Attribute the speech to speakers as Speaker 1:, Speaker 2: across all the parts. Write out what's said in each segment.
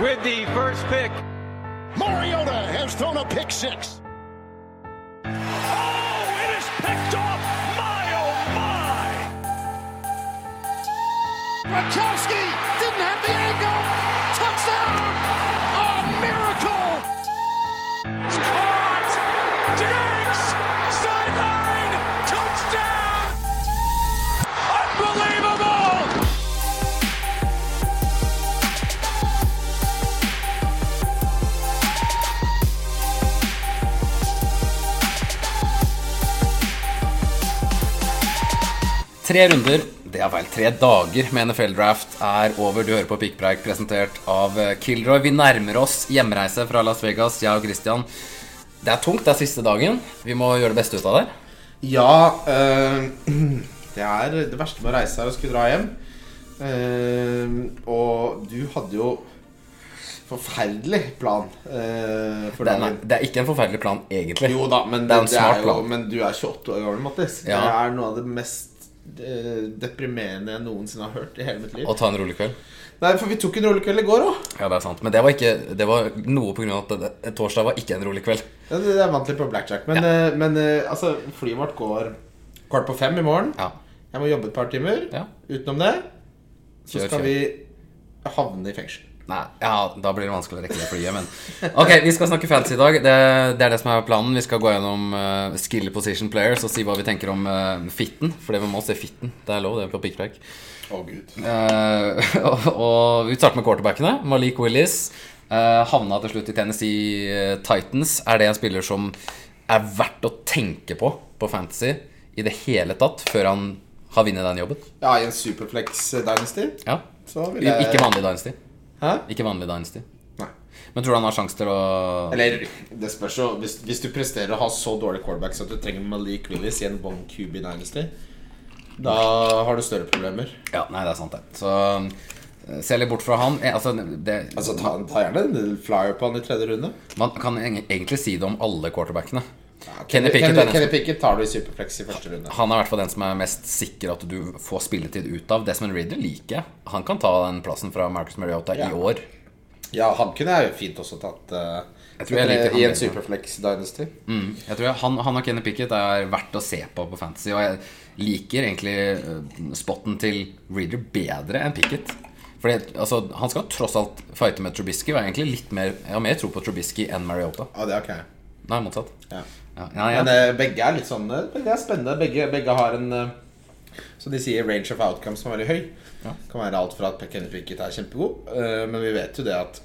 Speaker 1: with the first pick.
Speaker 2: Mariota has thrown a pick six.
Speaker 3: Oh, it is picked off. My, oh, my.
Speaker 2: Rakowski didn't have the angle. Touchdown. A miracle.
Speaker 3: It's caught. Diggs. Sideline. Touchdown. Unbelievable.
Speaker 4: Tre runder, det er vel tre dager med NFL-draft er over. Du hører på Pikkpreik presentert av eh, Kilroy. Vi nærmer oss hjemreise fra Las Vegas, jeg og Christian. Det er tungt, det er siste dagen. Vi må gjøre det beste ut av det.
Speaker 5: Ja eh, det, er det verste med å reise er å skulle dra hjem. Eh, og du hadde jo forferdelig plan eh, for
Speaker 4: Det er,
Speaker 5: dagen.
Speaker 4: det er ikke en forferdelig plan, egentlig.
Speaker 5: Jo da, men,
Speaker 4: det er en smart
Speaker 5: jo,
Speaker 4: plan.
Speaker 5: men du er 28 år gammel, Mattis.
Speaker 4: Ja.
Speaker 5: Det er noe av det mest eh, deprimerende jeg noensinne har hørt i hele mitt liv.
Speaker 4: Å ta en rolig kveld.
Speaker 5: Nei, for vi tok en rollekveld i går òg.
Speaker 4: Ja, det er sant. Men det var, ikke, det var noe på grunn av at det, det- torsdag var ikke en rolig kveld.
Speaker 5: Jeg vant litt på blackjack. Men, eh, men eh, altså, flyet vårt går kvart på fem i morgen.
Speaker 4: Ja.
Speaker 5: Jeg må jobbe et par timer.
Speaker 4: Ja.
Speaker 5: Utenom det så
Speaker 4: Kjør,
Speaker 5: skal
Speaker 4: kjør.
Speaker 5: vi havne i fengsel.
Speaker 4: Nei, ja, da blir det vanskelig å rekke det flyet, men Ok, vi skal snakke fancy i dag. Det, det er det som er planen. Vi skal gå gjennom eh, skill position players og si hva vi tenker om eh, fitten. For det vi må se fitten. Det er lov, det er på pikkpreik.
Speaker 5: Å, gud.
Speaker 4: Eh, og, og vi starter med quarterbackene. Malik Willis eh, havna til slutt i Tennessee eh, Titans. Er det en spiller som er verdt å tenke på på fantasy i det hele tatt før han har vunnet den jobben?
Speaker 5: Ja, i en Superflex eh, Dynasty.
Speaker 4: Ja.
Speaker 5: Så vil jeg
Speaker 4: Ikke vanlig Dynasty.
Speaker 5: Hæ?
Speaker 4: Ikke vanlig Dynasty.
Speaker 5: Nei.
Speaker 4: Men tror du han har sjanse til å
Speaker 5: Eller det spørs jo hvis, hvis du presterer å ha så dårlig quarterbacks at du trenger Malik Willis i en Bong QB Dynasty, da har du større problemer.
Speaker 4: Ja, nei, det er sant, det. Så eh, se litt bort fra han. Eh, Altså, det,
Speaker 5: Altså, ta, ta gjerne en flyer på han i tredje runde.
Speaker 4: man kan eng- egentlig si det om alle quarterbackene.
Speaker 5: Ja,
Speaker 4: Kenny Pickett er den
Speaker 5: Kenny
Speaker 4: som-
Speaker 5: Pickett tar du i Superflex i første runde.
Speaker 4: Han er i hvert fall den som er mest sikker at du får spilletid ut av. Desmond Ridder liker jeg. Han kan ta den plassen fra Marcus Mariota
Speaker 5: Ja.
Speaker 4: i år.
Speaker 5: Ja, han kunne jeg jo fint også tatt eh,
Speaker 4: Jeg tror jeg liker han
Speaker 5: i en
Speaker 4: bedre.
Speaker 5: Superflex Dynasty.
Speaker 4: Jeg tror jeg, han, han og Kenny Pickett er verdt å se på på Fantasy, og jeg liker egentlig eh, spotten til Reader bedre enn Pickett. Fordi, altså, Han skal tross alt fighte med Trubisky. Og jeg har egentlig litt mer, jeg har mer tro på Trubisky enn Mariota.
Speaker 5: Ja, det er ok.
Speaker 4: Nei, motsatt.
Speaker 5: Ja.
Speaker 4: Ja, ja, ja.
Speaker 5: Men eh, begge er litt sånn eh, Begge er spennende. Begge, begge har en eh, Så de sier range of outcome som er veldig høy.
Speaker 4: Ja.
Speaker 5: Kan være alt fra at Kenny Pickett er kjempegod, eh, men vi vet jo det at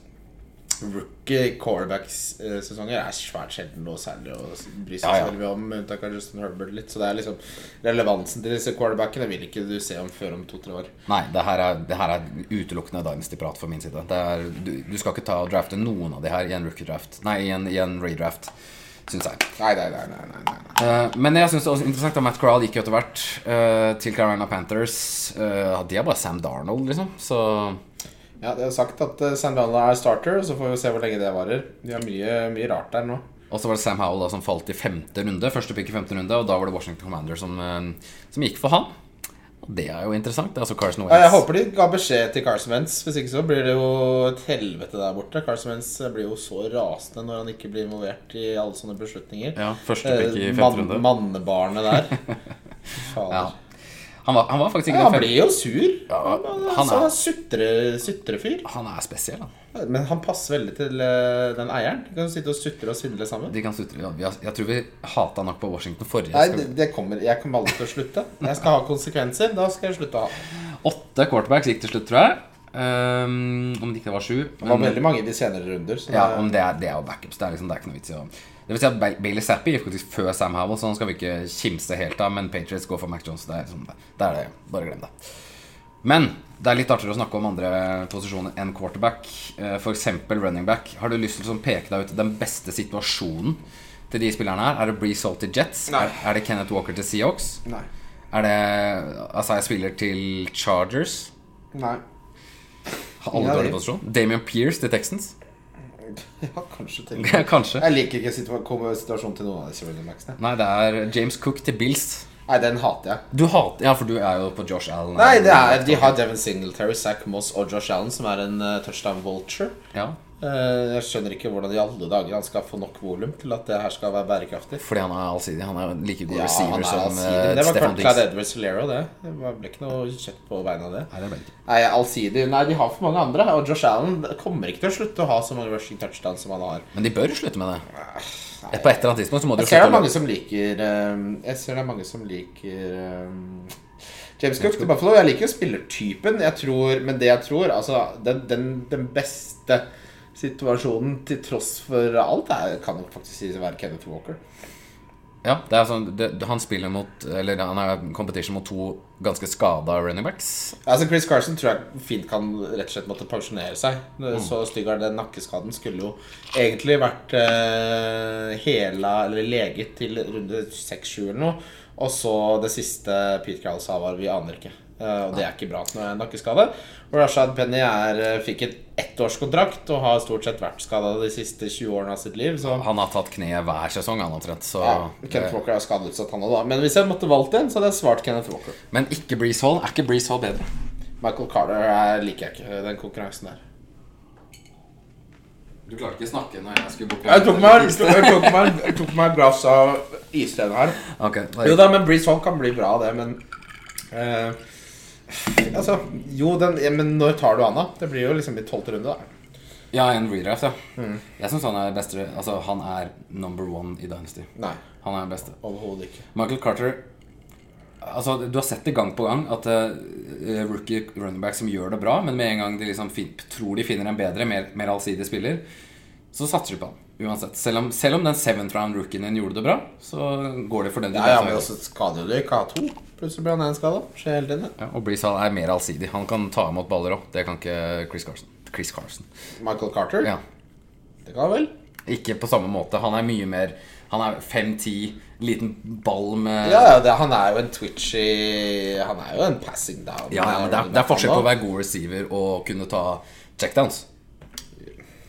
Speaker 5: rookie quarterback-sesonger er svært sjelden noe særlig å bry seg
Speaker 4: Ja, ja.
Speaker 5: så veldig mye om, med unntak av Justin Herbert litt. Så det er liksom relevansen til disse quarterbackene vil ikke du se om før om to-tre år.
Speaker 4: Nei, det her er, det her er utelukkende Dynasty-prat for min side. Det er, du, du skal ikke ta og drafte noen av de her i en rookie-draft. Nei, i en, i en redraft, syns jeg.
Speaker 5: Nei, nei, nei. nei, nei, nei.
Speaker 4: Eh, men jeg synes det er også interessant at Matt Corral gikk jo etter hvert eh, til Carolina Panthers. Eh, de er bare Sam Darnold, liksom. Så
Speaker 5: Ja, det er sagt at eh, Sam Donald er starter, så får vi se hvor lenge det varer. De har mye, mye rart der nå.
Speaker 4: Og så var det Sam Howell da, som falt i femte runde. Første pick i femte runde, og da var det Washington Commander som, eh, som gikk for han. Og det er jo interessant. Det er altså Carson
Speaker 5: Ja,
Speaker 4: Wentz.
Speaker 5: Jeg håper de ga beskjed til Carson Wentz. Hvis ikke så blir det jo et helvete der borte. Carson Wentz blir jo så rasende når han ikke blir involvert i alle sånne beslutninger.
Speaker 4: Ja, første pick i
Speaker 5: Eh,
Speaker 4: femte runde.
Speaker 5: Mannebarnet der.
Speaker 4: Ja.
Speaker 5: Fader.
Speaker 4: Han, var, han var faktisk
Speaker 5: Ja,
Speaker 4: ikke
Speaker 5: han
Speaker 4: den
Speaker 5: blir jo sur.
Speaker 4: Ja,
Speaker 5: han er
Speaker 4: han er-
Speaker 5: sånn sutre- sutrefyr.
Speaker 4: fem- Han er spesiell, han.
Speaker 5: Men han passer veldig til eh, den eieren. De kan jo sitte og sutre og svindle sammen.
Speaker 4: De kan sutre. ja, vi har- Jeg tror vi hata nok på Washington forrige.
Speaker 5: Nei,
Speaker 4: Skal vi-
Speaker 5: det, det kommer. Jeg kommer aldri til å slutte. Jeg skal ha konsekvenser. Da skal jeg slutte å ha.
Speaker 4: Åtte quarterbacks gikk til slutt, tror jeg. Ehm, om det ikke var sju.
Speaker 5: Det var
Speaker 4: men-
Speaker 5: veldig mange i de senere runder. Så
Speaker 4: ja,
Speaker 5: det-
Speaker 4: om det, er, det er jo backups. Det er, liksom, det er ikke noe vits i å Det vil si at Ba- Bailey Zappi gikk faktisk før Sam Howell, så han skal vi ikke kimse helt av. Men Patriots går for Mac Jones. Det er, liksom, det er det. Bare glem det. Men det er litt artigere å snakke om andre posisjoner enn quarterback. F.eks. running back. Har du lyst til å sånn peke deg ut den beste situasjonen til de spillerne her? Er det Bree Salt til Jets?
Speaker 5: Nei.
Speaker 4: Er, er det Kenneth Walker til Seahawks?
Speaker 5: Nei.
Speaker 4: Er det Altså, jeg spiller til Chargers.
Speaker 5: Nei.
Speaker 4: Alle
Speaker 5: Ja,
Speaker 4: dårlig
Speaker 5: det.
Speaker 4: posisjon. Damian Pierce til Texans.
Speaker 5: Ja, kanskje til
Speaker 4: Kanskje.
Speaker 5: Jeg liker ikke situa- kom- situasjonen til noen av disse running backsene.
Speaker 4: Nei, det er James Cook til Bills.
Speaker 5: Nei, den hater jeg.
Speaker 4: Du hater Ja, for du er jo på Josh Allen.
Speaker 5: Nei, det er, De har Devin Singletary, Zack Moss og Josh Allen, som er en eh, touchdown vulture.
Speaker 4: Ja,
Speaker 5: Eh, jeg skjønner ikke hvordan i alle dager han skal få nok volum til at det her skal være bærekraftig.
Speaker 4: fordi han er allsidig. Han er jo like god
Speaker 5: Ja, han
Speaker 4: receiver
Speaker 5: er
Speaker 4: som
Speaker 5: allsidig.
Speaker 4: eh,
Speaker 5: Det var
Speaker 4: Stefan
Speaker 5: klart Clyde
Speaker 4: Diggs.
Speaker 5: Edwards Solero, det. Det var- ble ikke noe kjøtt på beina, det.
Speaker 4: Nei, det er bare ikke.
Speaker 5: Nei, allsidig. Nei, de har for mange andre. Og Josh Allen kommer ikke til å slutte å ha så mange rushing touchdowns som han har.
Speaker 4: Men de bør slutte med det. På et eller annet tidspunkt så må de jo
Speaker 5: Jeg ser det
Speaker 4: slutte
Speaker 5: er
Speaker 4: å
Speaker 5: mange som liker eh, Jeg ser det er mange som liker eh, James Cook til Buffalo. Jeg liker jo spillertypen, jeg tror, men det jeg tror Altså, den, den, den beste situasjonen til tross for alt er, kan jo faktisk sies å være Kenneth Walker.
Speaker 4: Ja, det er sånn, det, han spiller mot Eller han er competition mot to ganske skada running backs.
Speaker 5: Altså Chris Carson tror jeg fint kan rett og slett måtte pensjonere seg. Så stygg er den nakkeskaden. Skulle jo egentlig vært eh, hela eller leget til runde 6-7 eller noe. Og så det siste Pete Crowell sa, var 'vi aner ikke'. Eh, og det er ikke bra når det er en nakkeskade. Og Rashad Penny er, eh, fikk en ettårskontrakt og har stort sett vært skada de siste 20 årene av sitt liv. Så
Speaker 4: Han har tatt kneet hver sesong, han omtrent. Så
Speaker 5: ja, Kenneth Walker er skadeutsatt, han òg, da. Men hvis jeg måtte valgt en, så hadde jeg svart Kenneth Walker.
Speaker 4: Men ikke Breeze Hall. Er ikke Breeze Hall bedre?
Speaker 5: Michael Carter eh, liker jeg ikke, den konkurransen der.
Speaker 4: Du klarte ikke å snakke når jeg skulle bort
Speaker 5: Jeg tok meg, jeg tok meg, jeg tok meg et glass av iste her. Jo da, men Breeze Hall kan bli bra, det, men eh, Altså, jo, den ja, Men når tar du han, da? Det blir jo liksom i tolvte runde, da.
Speaker 4: Ja, en redraft, ja.
Speaker 5: Mm.
Speaker 4: Jeg syns han er beste Altså, han er number one i Dynasty.
Speaker 5: Nei,
Speaker 4: Han er den beste.
Speaker 5: overhodet ikke.
Speaker 4: Michael Carter Altså, Du har sett det gang på gang at eh, rookie running back som gjør det bra, men med en gang de liksom fin, tror de finner en bedre, mer, mer allsidig spiller, så satser de på han uansett. Selv om, selv om den seventh round rookien din gjorde det bra, så går de for den de
Speaker 5: Nei, ja,
Speaker 4: vet
Speaker 5: men
Speaker 4: er-
Speaker 5: også skader jo det ikke å ha to. Plutselig blir han én skada. Skjer hele tiden. det.
Speaker 4: Ja, og Breeze Hall er mer allsidig. Han kan ta imot baller òg. Det kan ikke Chris Carson. Chris Carson.
Speaker 5: Michael Carter.
Speaker 4: Ja.
Speaker 5: Det kan han vel.
Speaker 4: Ikke på samme måte. Han er mye mer Han er 5-10, liten ball med
Speaker 5: Ja, ja, det, han er jo en twitchy Han er jo en passing down.
Speaker 4: Ja, ja, men det er, det er forskjell på å være god receiver og kunne ta checkdowns.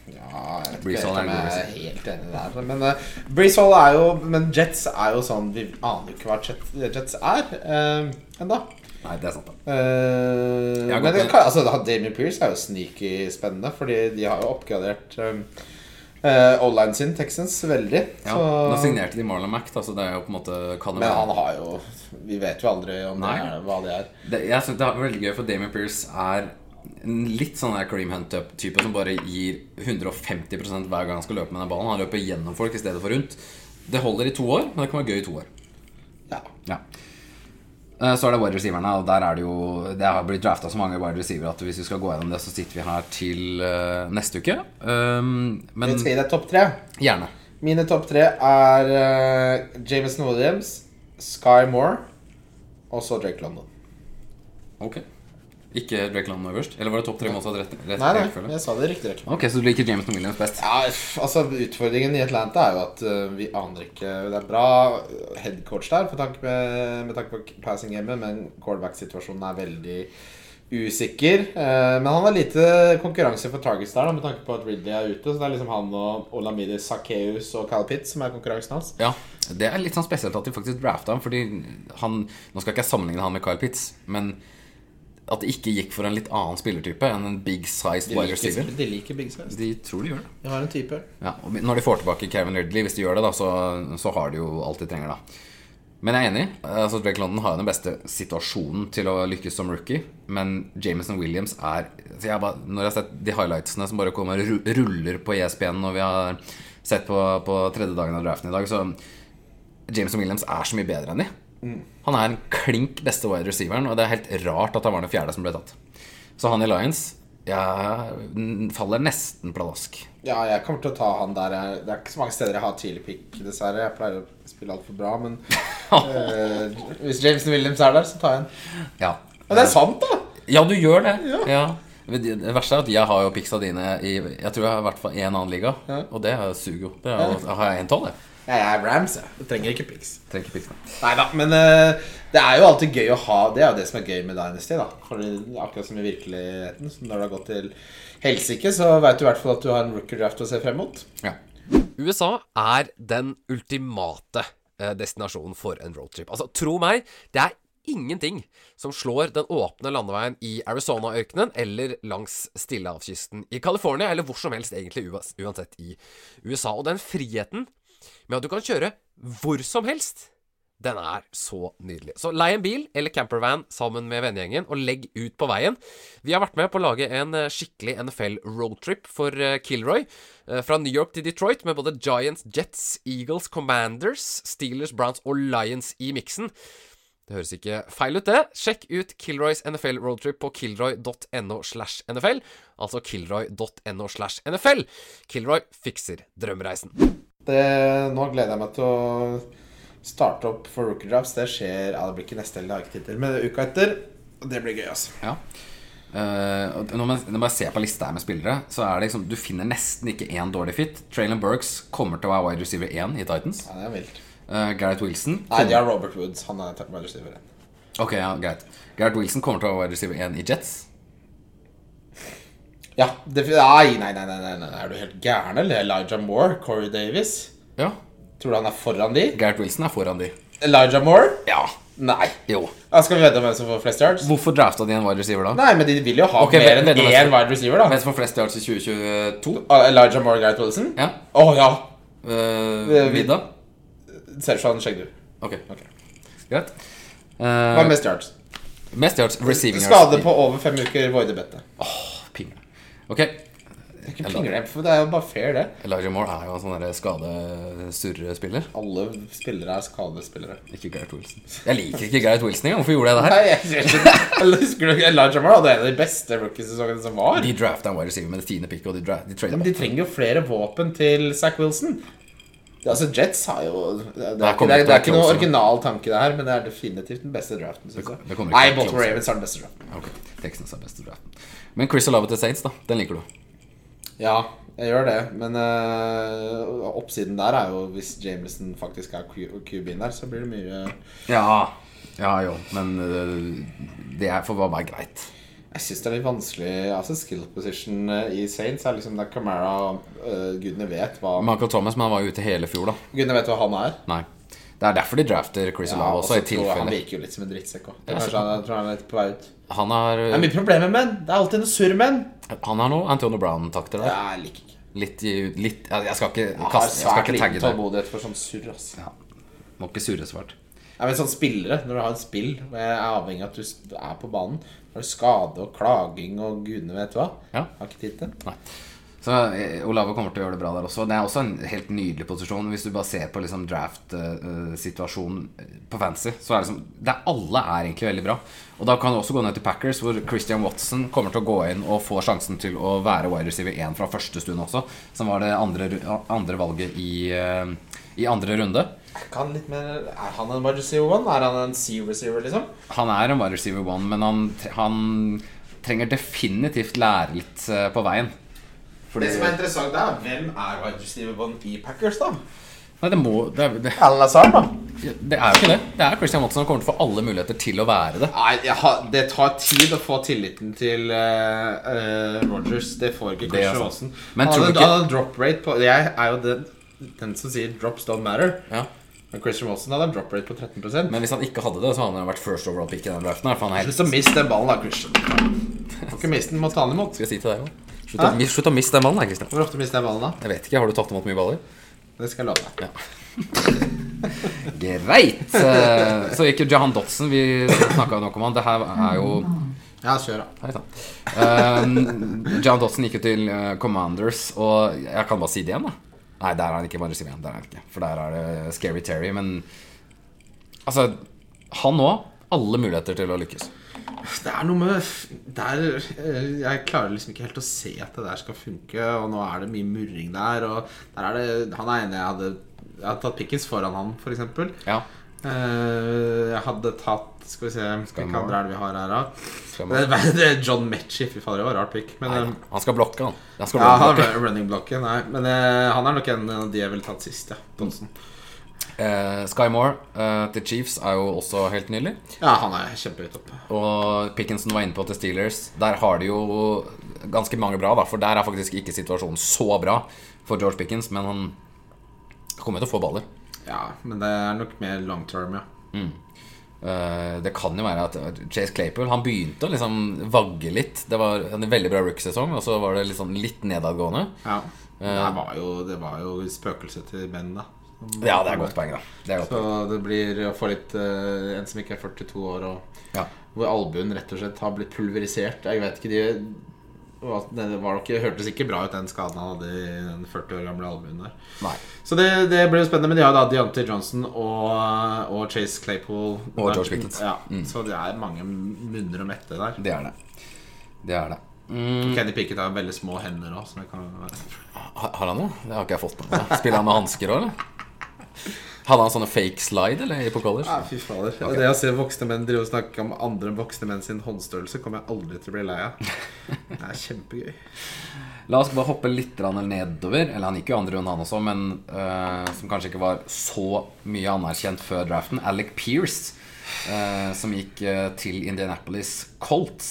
Speaker 5: Ja, jeg vet
Speaker 4: Breeze
Speaker 5: ikke
Speaker 4: Hall er en
Speaker 5: om
Speaker 4: god liksom.
Speaker 5: jeg er helt enig der. Men eh, Breeze Hall er jo Men Jets er jo sånn Vi aner jo ikke hva Jets, Jets er uh, ennå.
Speaker 4: Nei, det er sant. da
Speaker 5: Eh,
Speaker 4: Jeg har
Speaker 5: men
Speaker 4: gått
Speaker 5: det kan, altså, da- Damien Pierce er jo sneaky spennende, fordi de har jo oppgradert uh, O-line sin, Texans, veldig.
Speaker 4: ja,
Speaker 5: så,
Speaker 4: Nå signerte de Marlon Mack, da, så det er jo på en måte kan det
Speaker 5: men han
Speaker 4: være
Speaker 5: har jo Vi vet jo aldri om det
Speaker 4: Nei.
Speaker 5: er, hva det er.
Speaker 4: det, Jeg synes det er veldig gøy, for Damien Pierce er en litt sånn der Kareem Hunt-type som bare gir 150 hver gang han skal løpe med den ballen. Han løper gjennom folk i stedet for rundt. Det holder i to år, men det kan være gøy i to år.
Speaker 5: Ja.
Speaker 4: Ja. Eh, Så er det wide receiverne, og der er det jo Det har blitt drafta så mange wide receivere at hvis vi skal gå gjennom det, så sitter vi her til eh, neste uke. Um, men
Speaker 5: Vi skal gi deg topp tre.
Speaker 4: gjerne.
Speaker 5: Mine topp tre er eh, Jameson Williams, Sky Moore og så Drake London.
Speaker 4: Ok. Ikke Drake London øverst? Eller var det topp tre motsatt rett, rett
Speaker 5: Nei, nei,
Speaker 4: rekkefølge?
Speaker 5: jeg sa det i riktig rekkefølge.
Speaker 4: Ok, så du liker Jameson Williams best?
Speaker 5: Ja, f- altså Utfordringen i Atlanta er jo at øh, vi aner ikke Det er bra headcoach der for tanke med, med tanke på passing gamet, men quarterback-situasjonen er veldig usikker. Eh, men han har lite konkurranse for targets der, da, med tanke på at Ridley er ute. Så det er liksom han og Olamide Sakkeus og Cal Pitt som er konkurransen hans.
Speaker 4: Ja. Det er litt sånn spesielt at de faktisk drafta ham, fordi han Nå skal ikke jeg sammenligne han med Kyle Pitts, men at det ikke gikk for en litt annen spillertype enn en big sized
Speaker 5: De
Speaker 4: wide
Speaker 5: liker,
Speaker 4: receiver.
Speaker 5: de liker Big Size.
Speaker 4: De tror de gjør det.
Speaker 5: De har en type.
Speaker 4: Ja, og når de får tilbake Kevin Ridley, hvis de gjør det, da, så, så har de jo alt de trenger, da. Men jeg er enig. Altså, Drake London har jo den beste situasjonen til å lykkes som rookie. Men Jameson Williams er så jeg bare, Når jeg har sett de highlightsene som bare kommer ru- ruller på E ESPN når vi har sett på, på tredje dagen av draften i dag, så Jameson Williams er så mye bedre enn de. Han er en klink beste wide receiveren, og det er helt rart at han var den fjerde som ble tatt. Så han i Lions jeg n- faller nesten pladask.
Speaker 5: Ja, jeg kommer til å ta han der. Jeg- Det er ikke så mange steder jeg har tidlig pick, dessverre. Jeg pleier å spille altfor bra, men eh, hvis Jameson Williams er der, så tar jeg han.
Speaker 4: Ja.
Speaker 5: Men det er sant, da!
Speaker 4: Ja, du gjør det. Ja. Men Det det verste er at jeg har jo piksa dine i Jeg tror jeg har i hvert fall én annen liga. Og det er- suger jo. Det er, jo- da har jeg 1-12, jeg.
Speaker 5: Jeg er Rams, jeg. Jeg trenger ikke pics.
Speaker 4: Trenger ikke piksa.
Speaker 5: Nei da, men eh, det er jo alltid gøy å ha Det er jo det som er gøy med Dynasty, da. Fordi akkurat som i virkeligheten, som når det har gått til helsike, så veit du i hvert fall at du har en rooker draft å se frem mot.
Speaker 4: Ja.
Speaker 1: USA er den ultimate eh, destinasjon for en roadtrip. Altså, tro meg, det er ingenting som slår den åpne landeveien i Arizona-ørkenen eller langs Stillehavskysten i California, eller hvor som helst egentlig uas- uansett i USA. Og den friheten med at du kan kjøre hvor som helst, den er så nydelig. Så lei en bil eller campervan sammen med vennegjengen og legg ut på veien. Vi har vært med på å lage en eh, skikkelig NFL roadtrip for eh, Kilroy. eh, Fra New York til Detroit med både Giants, Jets, Eagles, Commanders, Steelers, Browns og Lions i miksen. Det høres ikke feil ut, det. Sjekk ut Kilroys NFL roadtrip på kilroy.no slash NFL. Altså kilroy.no slash NFL. Kilroy fikser drømmereisen.
Speaker 5: Det, nå gleder jeg meg til å starte opp for rookie drafts. Det skjer ja, Det blir ikke neste helg, det har jeg ikke tid til, men uka etter. Og det blir gøy, altså.
Speaker 4: Ja. Eh, og når, man, når man ser på lista her med spillere, så er det liksom Du finner nesten ikke én dårlig fit. Traylon Burks kommer til å være wide receiver 1 i Titans.
Speaker 5: Ja, det er vilt.
Speaker 4: Eh, Gareth Wilson
Speaker 5: Nei, de har Robert Woods. Han er wide receiver.
Speaker 4: Ok, ja, greit Gareth Wilson kommer til å være wide receiver 1 i Jets.
Speaker 5: Ja, det, nei, nei, nei, nei, nei, nei, er du helt gæren, eller? Elijah Moore, Corey Davis.
Speaker 4: Ja.
Speaker 5: Tror du han er foran de?
Speaker 4: Gareth Wilson er foran de.
Speaker 5: Elijah Moore?
Speaker 4: Ja.
Speaker 5: Nei.
Speaker 4: Jo.
Speaker 5: Ja, skal vi vedde om hvem som får flest yards?
Speaker 4: Hvorfor drafta de en wide receiver da?
Speaker 5: Nei, men de vil jo ha
Speaker 4: Ok,
Speaker 5: mer enn
Speaker 4: vedde om
Speaker 5: én
Speaker 4: hvem som-
Speaker 5: wide receiver, da.
Speaker 4: Hvem som får flest yards i 2022?
Speaker 5: Ah, Elijah Moore, Gareth Wilson? Å
Speaker 4: Ja.
Speaker 5: ja.
Speaker 4: Uh,
Speaker 5: vi-
Speaker 4: Vidda?
Speaker 5: Sersan Skjegdu.
Speaker 4: Ok.
Speaker 5: Ok.
Speaker 4: Greit.
Speaker 5: Hva
Speaker 4: Eh,
Speaker 5: er mest yards?
Speaker 4: mest yards receiving
Speaker 5: Skade
Speaker 4: yards.
Speaker 5: på over fem uker, voide bettet.
Speaker 4: Pingle. Ok,
Speaker 5: Det er ikke pingle, for det er jo bare fair, det.
Speaker 4: Elijah Moore er jo en sånn der skadesurrespiller.
Speaker 5: Alle spillere er skadespillere.
Speaker 4: Ikke Gareth Wilson. Jeg liker ikke Gareth Wilson engang. Hvorfor gjorde jeg det her?
Speaker 5: Nei, jeg jeg skjønner Husker du ikke Elijah Moore hadde en av de beste rookiesesongene som var?
Speaker 4: De drafta en wide receiver med det tiende picket, og de, dra- de trader
Speaker 5: Men
Speaker 4: bak.
Speaker 5: de trenger jo flere våpen til Zack Wilson. Det, altså, Jets har jo Det, det, er, ikke,
Speaker 4: kommer
Speaker 5: det, er,
Speaker 4: ikke
Speaker 5: det er
Speaker 4: til
Speaker 5: ikke
Speaker 4: å
Speaker 5: noe
Speaker 4: close,
Speaker 5: original tanke, det her, men det er definitivt den beste draften. Synes jeg.
Speaker 4: det kommer ikke
Speaker 5: Nei,
Speaker 4: til å
Speaker 5: Bolton
Speaker 4: close.
Speaker 5: Ravens har den beste draften.
Speaker 4: Ok, Texans er best i draften. Men Chris Olave til Saints, da. Den liker du.
Speaker 5: Ja, jeg gjør det, men øh, oppsiden der er jo hvis Jameson faktisk er Q- QB-en der, så blir det mye
Speaker 4: Ja. Ja jo, men
Speaker 5: eh,
Speaker 4: øh, det er for hva meg greit.
Speaker 5: Jeg syns det er litt vanskelig. Altså, skill position øh, i Saints er liksom der Camara øh, Gudene vet hva
Speaker 4: Michael Thomas men han var jo ute hele fjor, da.
Speaker 5: Gudene vet hva han er.
Speaker 4: Nei. Det er derfor de drafter Chris Olave også,
Speaker 5: og så
Speaker 4: i
Speaker 5: tror jeg Han
Speaker 4: tilfelle.
Speaker 5: virker jo litt som en drittsekk òg.
Speaker 4: Ja,
Speaker 5: Kanskje
Speaker 4: så-
Speaker 5: han jeg tror han er litt på vei ut.
Speaker 4: Han har,
Speaker 5: Det er mye problemer med den. Det er alltid noe surr med den.
Speaker 4: han har noe Antonio Brown-takter der.
Speaker 5: Jeg liker ikke.
Speaker 4: Litt i litt, Jeg skal ikke
Speaker 5: Jeg har
Speaker 4: kaste Jeg skal
Speaker 5: svært
Speaker 4: ikke
Speaker 5: liten
Speaker 4: tagge deg.
Speaker 5: tålmodighet for sånn surr. ass.
Speaker 4: Ja. Må ikke surre svart.
Speaker 5: Nei, men sånn spillere, når du har et spill og jeg er avhengig av at du s- er på banen Har du skade og klaging og gudene vet hva?
Speaker 4: Ja.
Speaker 5: Har ikke tid til det.
Speaker 4: Så eh, Olave kommer til å gjøre det bra der også. Det er også en helt nydelig posisjon. Hvis du bare ser på liksom draft-situasjonen eh, på fantasy, så er det liksom det er, Alle er egentlig veldig bra. Og da kan du også gå ned til Packers, hvor Christian Watson kommer til å gå inn og få sjansen til å være wide receiver 1 fra første stund også, som var det andre, ru- andre valget i, eh, i andre runde.
Speaker 5: Er ikke han litt mer Er han en wide receiver one? Er han en sea receiver, liksom?
Speaker 4: Han er en wide receiver 1, men han, tre- han trenger definitivt lære litt eh, på veien.
Speaker 5: Det som er interessant, det er hvem er wide receiver one i Packers, da?
Speaker 4: Nei, det må det er, det,
Speaker 5: Alan Lazar, da.
Speaker 4: Det er jo ikke det. Det er Christian Watson som kommer til å få alle muligheter til å være det.
Speaker 5: Nei, jeg har, det tar tid å få tilliten til uh, Rogers. Det får ikke
Speaker 4: Det er sant.
Speaker 5: Christian Aasen.
Speaker 4: Men
Speaker 5: Han
Speaker 4: tror du
Speaker 5: hadde
Speaker 4: ikke-
Speaker 5: han hadde en drop rate på Jeg er jo den, den som sier 'drops don't matter'.
Speaker 4: Ja.
Speaker 5: Men Christian Wilson hadde en drop rate på 13
Speaker 4: Men hvis han ikke hadde det, så hadde han vært first overall pick i den draften. her, For han er helt...
Speaker 5: Slutt å miste den ballen, da, Christian. Får ikke miste den, må ta den imot.
Speaker 4: Skal jeg si til deg også? Slutt, å, mis- slutt å miste den ballen, da, Christian.
Speaker 5: Hvor ofte mister jeg ballen, da?
Speaker 4: Jeg vet ikke, Har du tatt imot mye baller?
Speaker 5: Det skal jeg love deg.
Speaker 4: Greit! Eh, Så gikk jo Jahan Dotson. Vi snakka nok om han. Det her er jo
Speaker 5: Ja, kjør, da.
Speaker 4: Hei sann. Eh, Jahan Dotson gikk jo til eh, Commanders, og jeg kan bare si det igjen, da. Nei, der er han ikke. Bare si det igjen. Der er han ikke. For der er det Scary Terry. Men altså, han òg. Alle muligheter til å lykkes.
Speaker 5: Det er noe med der, Jeg klarer liksom ikke helt å se at det der skal funke, og nå er det mye murring der, og der er det Han er enig jeg hadde Jeg hadde tatt Pickens foran han, for eksempel.
Speaker 4: Ja.
Speaker 5: Eh, jeg hadde tatt Skal vi se hvilke andre er det vi har her, da.
Speaker 4: Skal man...
Speaker 5: Det er- Det er John Metchie. Fy fader, det var rart pick. Men, eh,
Speaker 4: Han skal blokke, han. han skal
Speaker 5: ja,
Speaker 4: blokke.
Speaker 5: han er running blocken, nei. Men eh, han er nok en av de jeg ville tatt sist, ja. Donsen.
Speaker 4: Eh, Sky Moore eh, til Chiefs er jo også helt nydelig.
Speaker 5: Ja, han er kjempehøyt oppe.
Speaker 4: Og Pickinson var inne på til Steelers. Der har de jo ganske mange bra, da. For der er faktisk ikke situasjonen så bra for George Pickens, men han kommer jo til å få baller.
Speaker 5: Ja, men det er nok mer long term, ja.
Speaker 4: Eh, det kan jo være at Chase Claypool Han begynte å liksom vagge litt. Det var en veldig bra rookie-sesong, og så var det liksom litt nedadgående.
Speaker 5: ja.
Speaker 4: Eh,
Speaker 5: Det, var jo, det var jo spøkelset til Ben, da.
Speaker 4: Ja, det er et godt poeng, da. Det er et godt
Speaker 5: Så det blir å få litt eh, en som ikke er 42 år, og
Speaker 4: poeng. Ja.
Speaker 5: hvor albuen rett og slett har blitt pulverisert. Jeg vet ikke, de hva- det var nok, det hørtes ikke bra ut, den skaden han hadde i den 40 år gamle albuen der.
Speaker 4: Nei.
Speaker 5: Så det, det blir jo spennende. Men de har jo da Deontay Johnson og, og Chase Claypool.
Speaker 4: Og George Pickens. Mm.
Speaker 5: Ja, Så det er mange munner å mette der.
Speaker 4: Det er det. Det er det. Mm.
Speaker 5: Kenny Pickett har veldig små hender òg, så det kan være
Speaker 4: Ha- Har han det? Det har ikke jeg fått med meg. Spiller han med hansker òg, eller? Hadde han sånne fake slide eller, på college?
Speaker 5: Fy fader. Det å se voksne menn drive og snakke om andre voksne menn sin håndstørrelse, kommer jeg aldri til å bli lei av. Det er kjempegøy.
Speaker 4: La oss bare hoppe litt grann nedover. Eller han gikk jo andre runde, han også, men eh, som kanskje ikke var så mye anerkjent før draften. Alec Pierce, eh, som gikk eh, til Indianapolis Colts.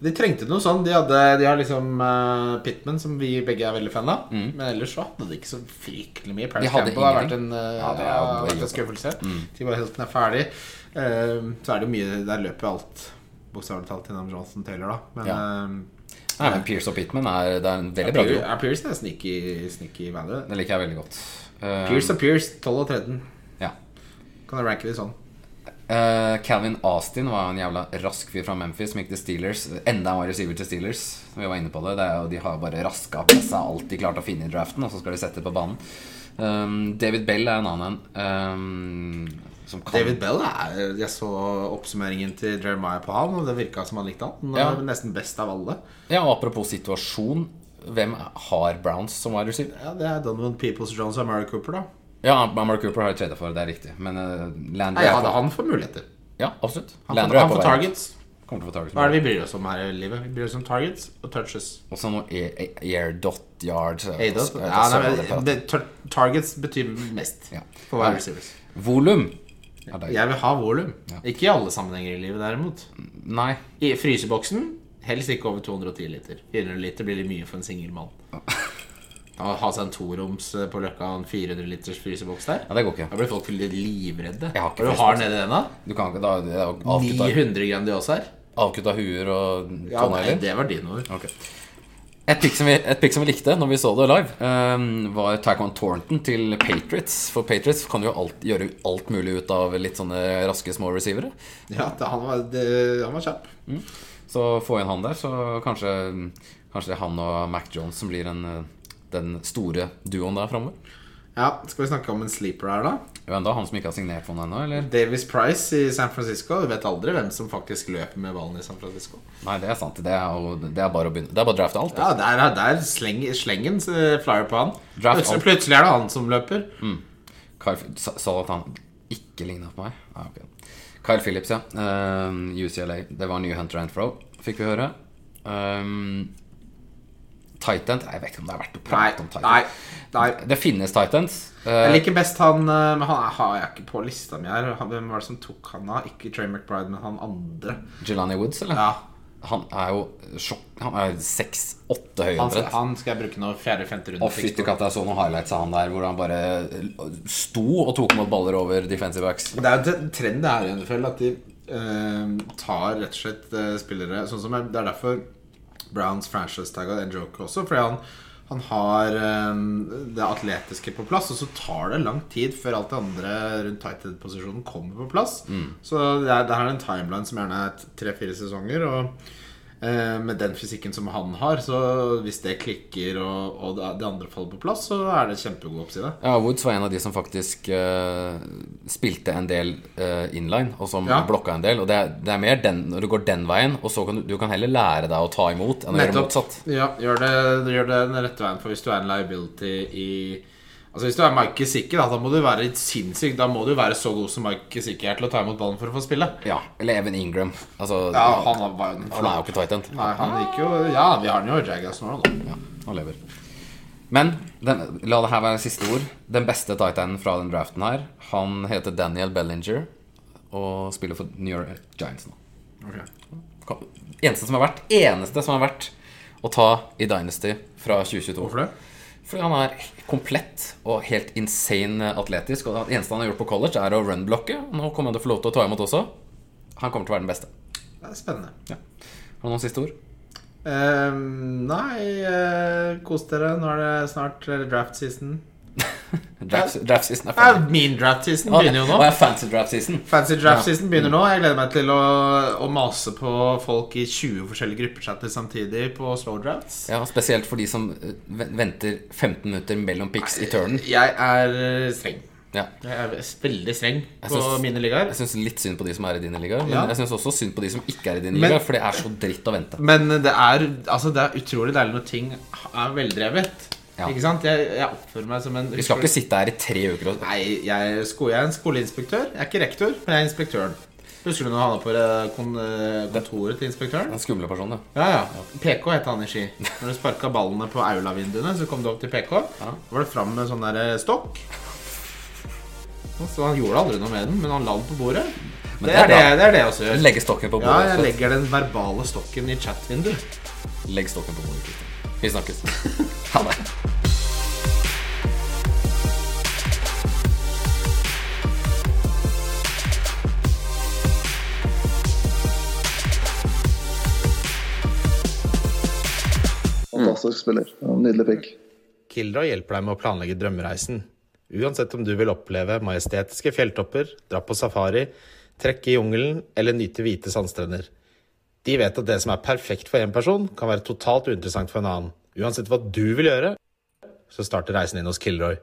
Speaker 5: De trengte noe sånn. De, hadde, de har liksom eh, Pittman, som vi begge er veldig fan av. Men ellers så hadde de ikke så fryktelig mye.
Speaker 4: Mm.
Speaker 5: Paris
Speaker 4: De hadde
Speaker 5: Campbell har vært en,
Speaker 4: ingenting.
Speaker 5: eh,
Speaker 4: Ja, det er jo Mm.
Speaker 5: har vært
Speaker 4: bare-
Speaker 5: en skuffelse. T.Y. Hilton er ferdig. Eh, så er det mye Der løper jo alt bokstavelig talt innom Johnson Taylor, da. Men
Speaker 4: Ja.
Speaker 5: eh,
Speaker 4: Nei, men Pierce og Pittman er, det er en veldig bra duo.
Speaker 5: Pierce, ja, Pierce er sneaky, sneaky value.
Speaker 4: Det liker jeg veldig godt. Eh,
Speaker 5: Pierce og Pierce, 12 og 13.
Speaker 4: Ja.
Speaker 5: Kan jeg ranke de sånn?
Speaker 4: Eh, Calvin Austin var en jævla rask fyr fra Memphis som gikk til Steelers. Enda en wide receiver til Steelers. Vi var inne på det. det er jo, de har bare raska på seg alt de klarte å finne i draften, og så skal de sette det på banen. Um, David Bell er en annen en. Um, som kan
Speaker 5: David Bell er, Jeg så oppsummeringen til Jeremiah på han, og det virka som han likte han.
Speaker 4: Ja.
Speaker 5: Han er Nesten best av alle.
Speaker 4: Ja, og apropos situasjon. Hvem har Browns som wide receiver?
Speaker 5: Ja, Det er Donovan Peoples Jones og Mary Cooper, da.
Speaker 4: Ja, Mark Cooper har jeg treda for, det er riktig. Men uh, Landry
Speaker 5: Nei,
Speaker 4: er
Speaker 5: ja,
Speaker 4: på,
Speaker 5: da, han får muligheter.
Speaker 4: ja, absolutt.
Speaker 5: Han,
Speaker 4: Landry
Speaker 5: får,
Speaker 4: er
Speaker 5: han
Speaker 4: på
Speaker 5: får
Speaker 4: vei.
Speaker 5: targets.
Speaker 4: Kommer til å få targets.
Speaker 5: Hva er det vi bryr oss om her i livet? Vi bryr oss om targets og touches.
Speaker 4: Også noe air, air dot yards.
Speaker 5: Aidos. Ja, nei, men, det, tar- targets betyr mest
Speaker 4: Ja.
Speaker 5: for wide receivers.
Speaker 4: Volum. Er det-
Speaker 5: Jeg vil ha volum. Ikke i alle sammenhenger i livet, derimot.
Speaker 4: Nei.
Speaker 5: I fryseboksen helst ikke over 210 liter. 400 liter blir litt mye for en singel mann. Å ha seg en toroms eh, på Løkka og en 400 liters fryseboks der
Speaker 4: Ja, det går ikke.
Speaker 5: Da blir folk litt livredde.
Speaker 4: Jeg har ikke
Speaker 5: Hva er det du
Speaker 4: fryseboks.
Speaker 5: har nedi den, da?
Speaker 4: Du kan ikke da det er jo Avkutta,
Speaker 5: 900 Grandiosaer?
Speaker 4: avkutta huer og
Speaker 5: Ja, nei,
Speaker 4: tånegler.
Speaker 5: det var dine ord.
Speaker 4: Ok. Et pick, som vi, et pick som vi likte når vi så det live, ehm, var Taekwondo Thornton til Patriots. For Patriots kan jo alt, gjøre alt mulig ut av litt sånne raske små receivere.
Speaker 5: Ja, det, han, var, det, han var kjapp.
Speaker 4: Så få inn han der, så kanskje, kanskje det er han og Mac Jones som blir den, eh, den store duoen der framover.
Speaker 5: Ja, Skal vi snakke om en sleeper her, da?
Speaker 4: Jo, enda han som ikke har signert for den ennå, eller?
Speaker 5: Davis Price i San Francisco. Du vet aldri hvem som faktisk løper med ballen i San Francisco.
Speaker 4: Nei, det er sant. Det er, jo, det er bare å begynne. Det er bare å drafte alt.
Speaker 5: Ja, Der, der sleng, slengen eh, flyer på han.
Speaker 4: Draft
Speaker 5: Plutselig,
Speaker 4: alt.
Speaker 5: plutselig er det han som løper.
Speaker 4: Kyle, Phil- sa, sa at han ikke ligna på meg? Ah, ok. Kyle Phillips, ja. Ehm, UCLA. Det var nye Hunter Anfro, fikk vi høre. Um, Titan Jeg vet ikke om det er verdt å
Speaker 5: Nei,
Speaker 4: prate om Titan.
Speaker 5: nei, nei.
Speaker 4: Det finnes Titans. Eh,
Speaker 5: Jeg liker best han eh, Men han har jeg ikke på lista mi her. Han- Hvem var det som tok han av? Ikke Trey McBride, men han andre.
Speaker 4: Jelani Woods, eller?
Speaker 5: Ja,
Speaker 4: Han er jo sjokk... Han er 6-8 høy
Speaker 5: Han,
Speaker 4: omtrent.
Speaker 5: han skal jeg bruke nå fjerde-femte runde.
Speaker 4: Og fytti katta, jeg så noen highlights av han der hvor han bare sto og tok imot baller over defensive backs.
Speaker 5: Det er jo en trend det her i NFL at de eh, tar rett og slett eh, spillere sånn som er, Det er derfor Browns franchise-tagga en joke også, fordi han, han har eh, det atletiske på plass, og så tar det lang tid før alt det andre rundt tight end-posisjonen kommer på plass. Så det er, det her er en timeline som gjerne er tre-fire sesonger. Og eh, med den fysikken som han har, så hvis det klikker og, og det det andre faller på plass, så er det kjempegod oppside.
Speaker 4: Ja, Woods var en av de som faktisk eh, spilte en del eh, inline, og som
Speaker 5: Ja.
Speaker 4: blokka en del. Og det er, det er mer den, når du går den veien, og så kan du, du kan heller lære deg å ta imot enn å gjøre motsatt.
Speaker 5: Ja, gjør det, gjør det den rette veien, for hvis du er en liability i Altså Hvis du er Mike Kisicki, da, da må du være sinnssyk. Da må du være så god som Mike Kisicki er til å ta imot ballen for å få spille.
Speaker 4: Ja, Eller Even Ingram. Altså,
Speaker 5: Ja, han var jo en
Speaker 4: han er jo ikke tight end.
Speaker 5: Nei, han gikk jo Ja, vi har han jo i Jagas nå, da.
Speaker 4: Ja, han lever. Men den, la det her være siste ord. Den beste tight enden fra den draften her, han heter Daniel Bellinger og spiller for New York Giants nå. Kom- Eneste som har vært, eneste som har vært å ta i Dynasty fra 2022.
Speaker 5: Hvorfor det?
Speaker 4: Fordi han er komplett og helt insane atletisk. Og det eneste han har gjort på college, er å runblocke. Nå kommer han til å få lov til å ta imot også. Han kommer til å være den beste.
Speaker 5: Det er spennende.
Speaker 4: Har du noen siste ord?
Speaker 5: Eh, nei, eh, kos dere. Nå er det snart eh, draft season.
Speaker 4: Draft, draft season er
Speaker 5: Eh,
Speaker 4: ferdig.
Speaker 5: min draft season
Speaker 4: Å,
Speaker 5: begynner jo
Speaker 4: å,
Speaker 5: nå.
Speaker 4: ja, fancy draft season.
Speaker 5: Fancy
Speaker 4: Ja.
Speaker 5: draft
Speaker 4: Mm.
Speaker 5: season begynner nå. Jeg gleder meg til å, å mase på folk i 20 forskjellige gruppechatter samtidig på slow drafts.
Speaker 4: Ja, Spesielt for de som eh, ven- venter 15 minutter mellom picks i turnen.
Speaker 5: Jeg er eh, streng.
Speaker 4: Ja.
Speaker 5: Jeg er veldig streng på
Speaker 4: synes-
Speaker 5: mine ligaer.
Speaker 4: Jeg syns litt synd på de som er i dine ligaer, men
Speaker 5: Ja.
Speaker 4: jeg syns også synd på de som ikke er i dine
Speaker 5: Men-
Speaker 4: ligaer, for det er så dritt å vente.
Speaker 5: Men det er, altså, det er utrolig deilig når ting er veldrevet.
Speaker 4: Ja.
Speaker 5: Ikke sant? Jeg, jeg oppfører meg som en
Speaker 4: Vi skal ikke sitte her i tre uker og
Speaker 5: Nei, jeg er, sko, jeg er en skoleinspektør. Jeg er ikke rektor, men jeg er inspektøren. Husker du når han var på eh, kon eh, kontoret til inspektøren?
Speaker 4: Den skumle personen, ja.
Speaker 5: Ja, ja. PK het han i Ski. Når du sparka ballene på aulavinduene, så kom du opp til PK. Da var det fram med sånn der eh, stokk. Og Så han gjorde aldri noe med den, men han la den på bordet. Det
Speaker 4: det er
Speaker 5: er det,
Speaker 4: bra.
Speaker 5: det er det jeg også gjør.
Speaker 4: Legge stokken på
Speaker 5: Ja,
Speaker 4: bordet.
Speaker 5: jeg
Speaker 4: så-
Speaker 5: legger den verbale stokken i chat-vinduet.
Speaker 4: Legg stokken på bordet. Christian. Vi snakkes. Ha det.
Speaker 6: Fantastisk spiller. Ja, Nydelig pikk.
Speaker 5: Kilda hjelper deg med å planlegge drømmereisen. Uansett om du vil oppleve majestetiske fjelltopper, dra på safari, trekke i jungelen eller nyte hvite sandstrender. De vet at det som er perfekt for én person, kan være totalt uinteressant for en annen. Uansett hva du vil gjøre, så starter reisen din hos Kilroy.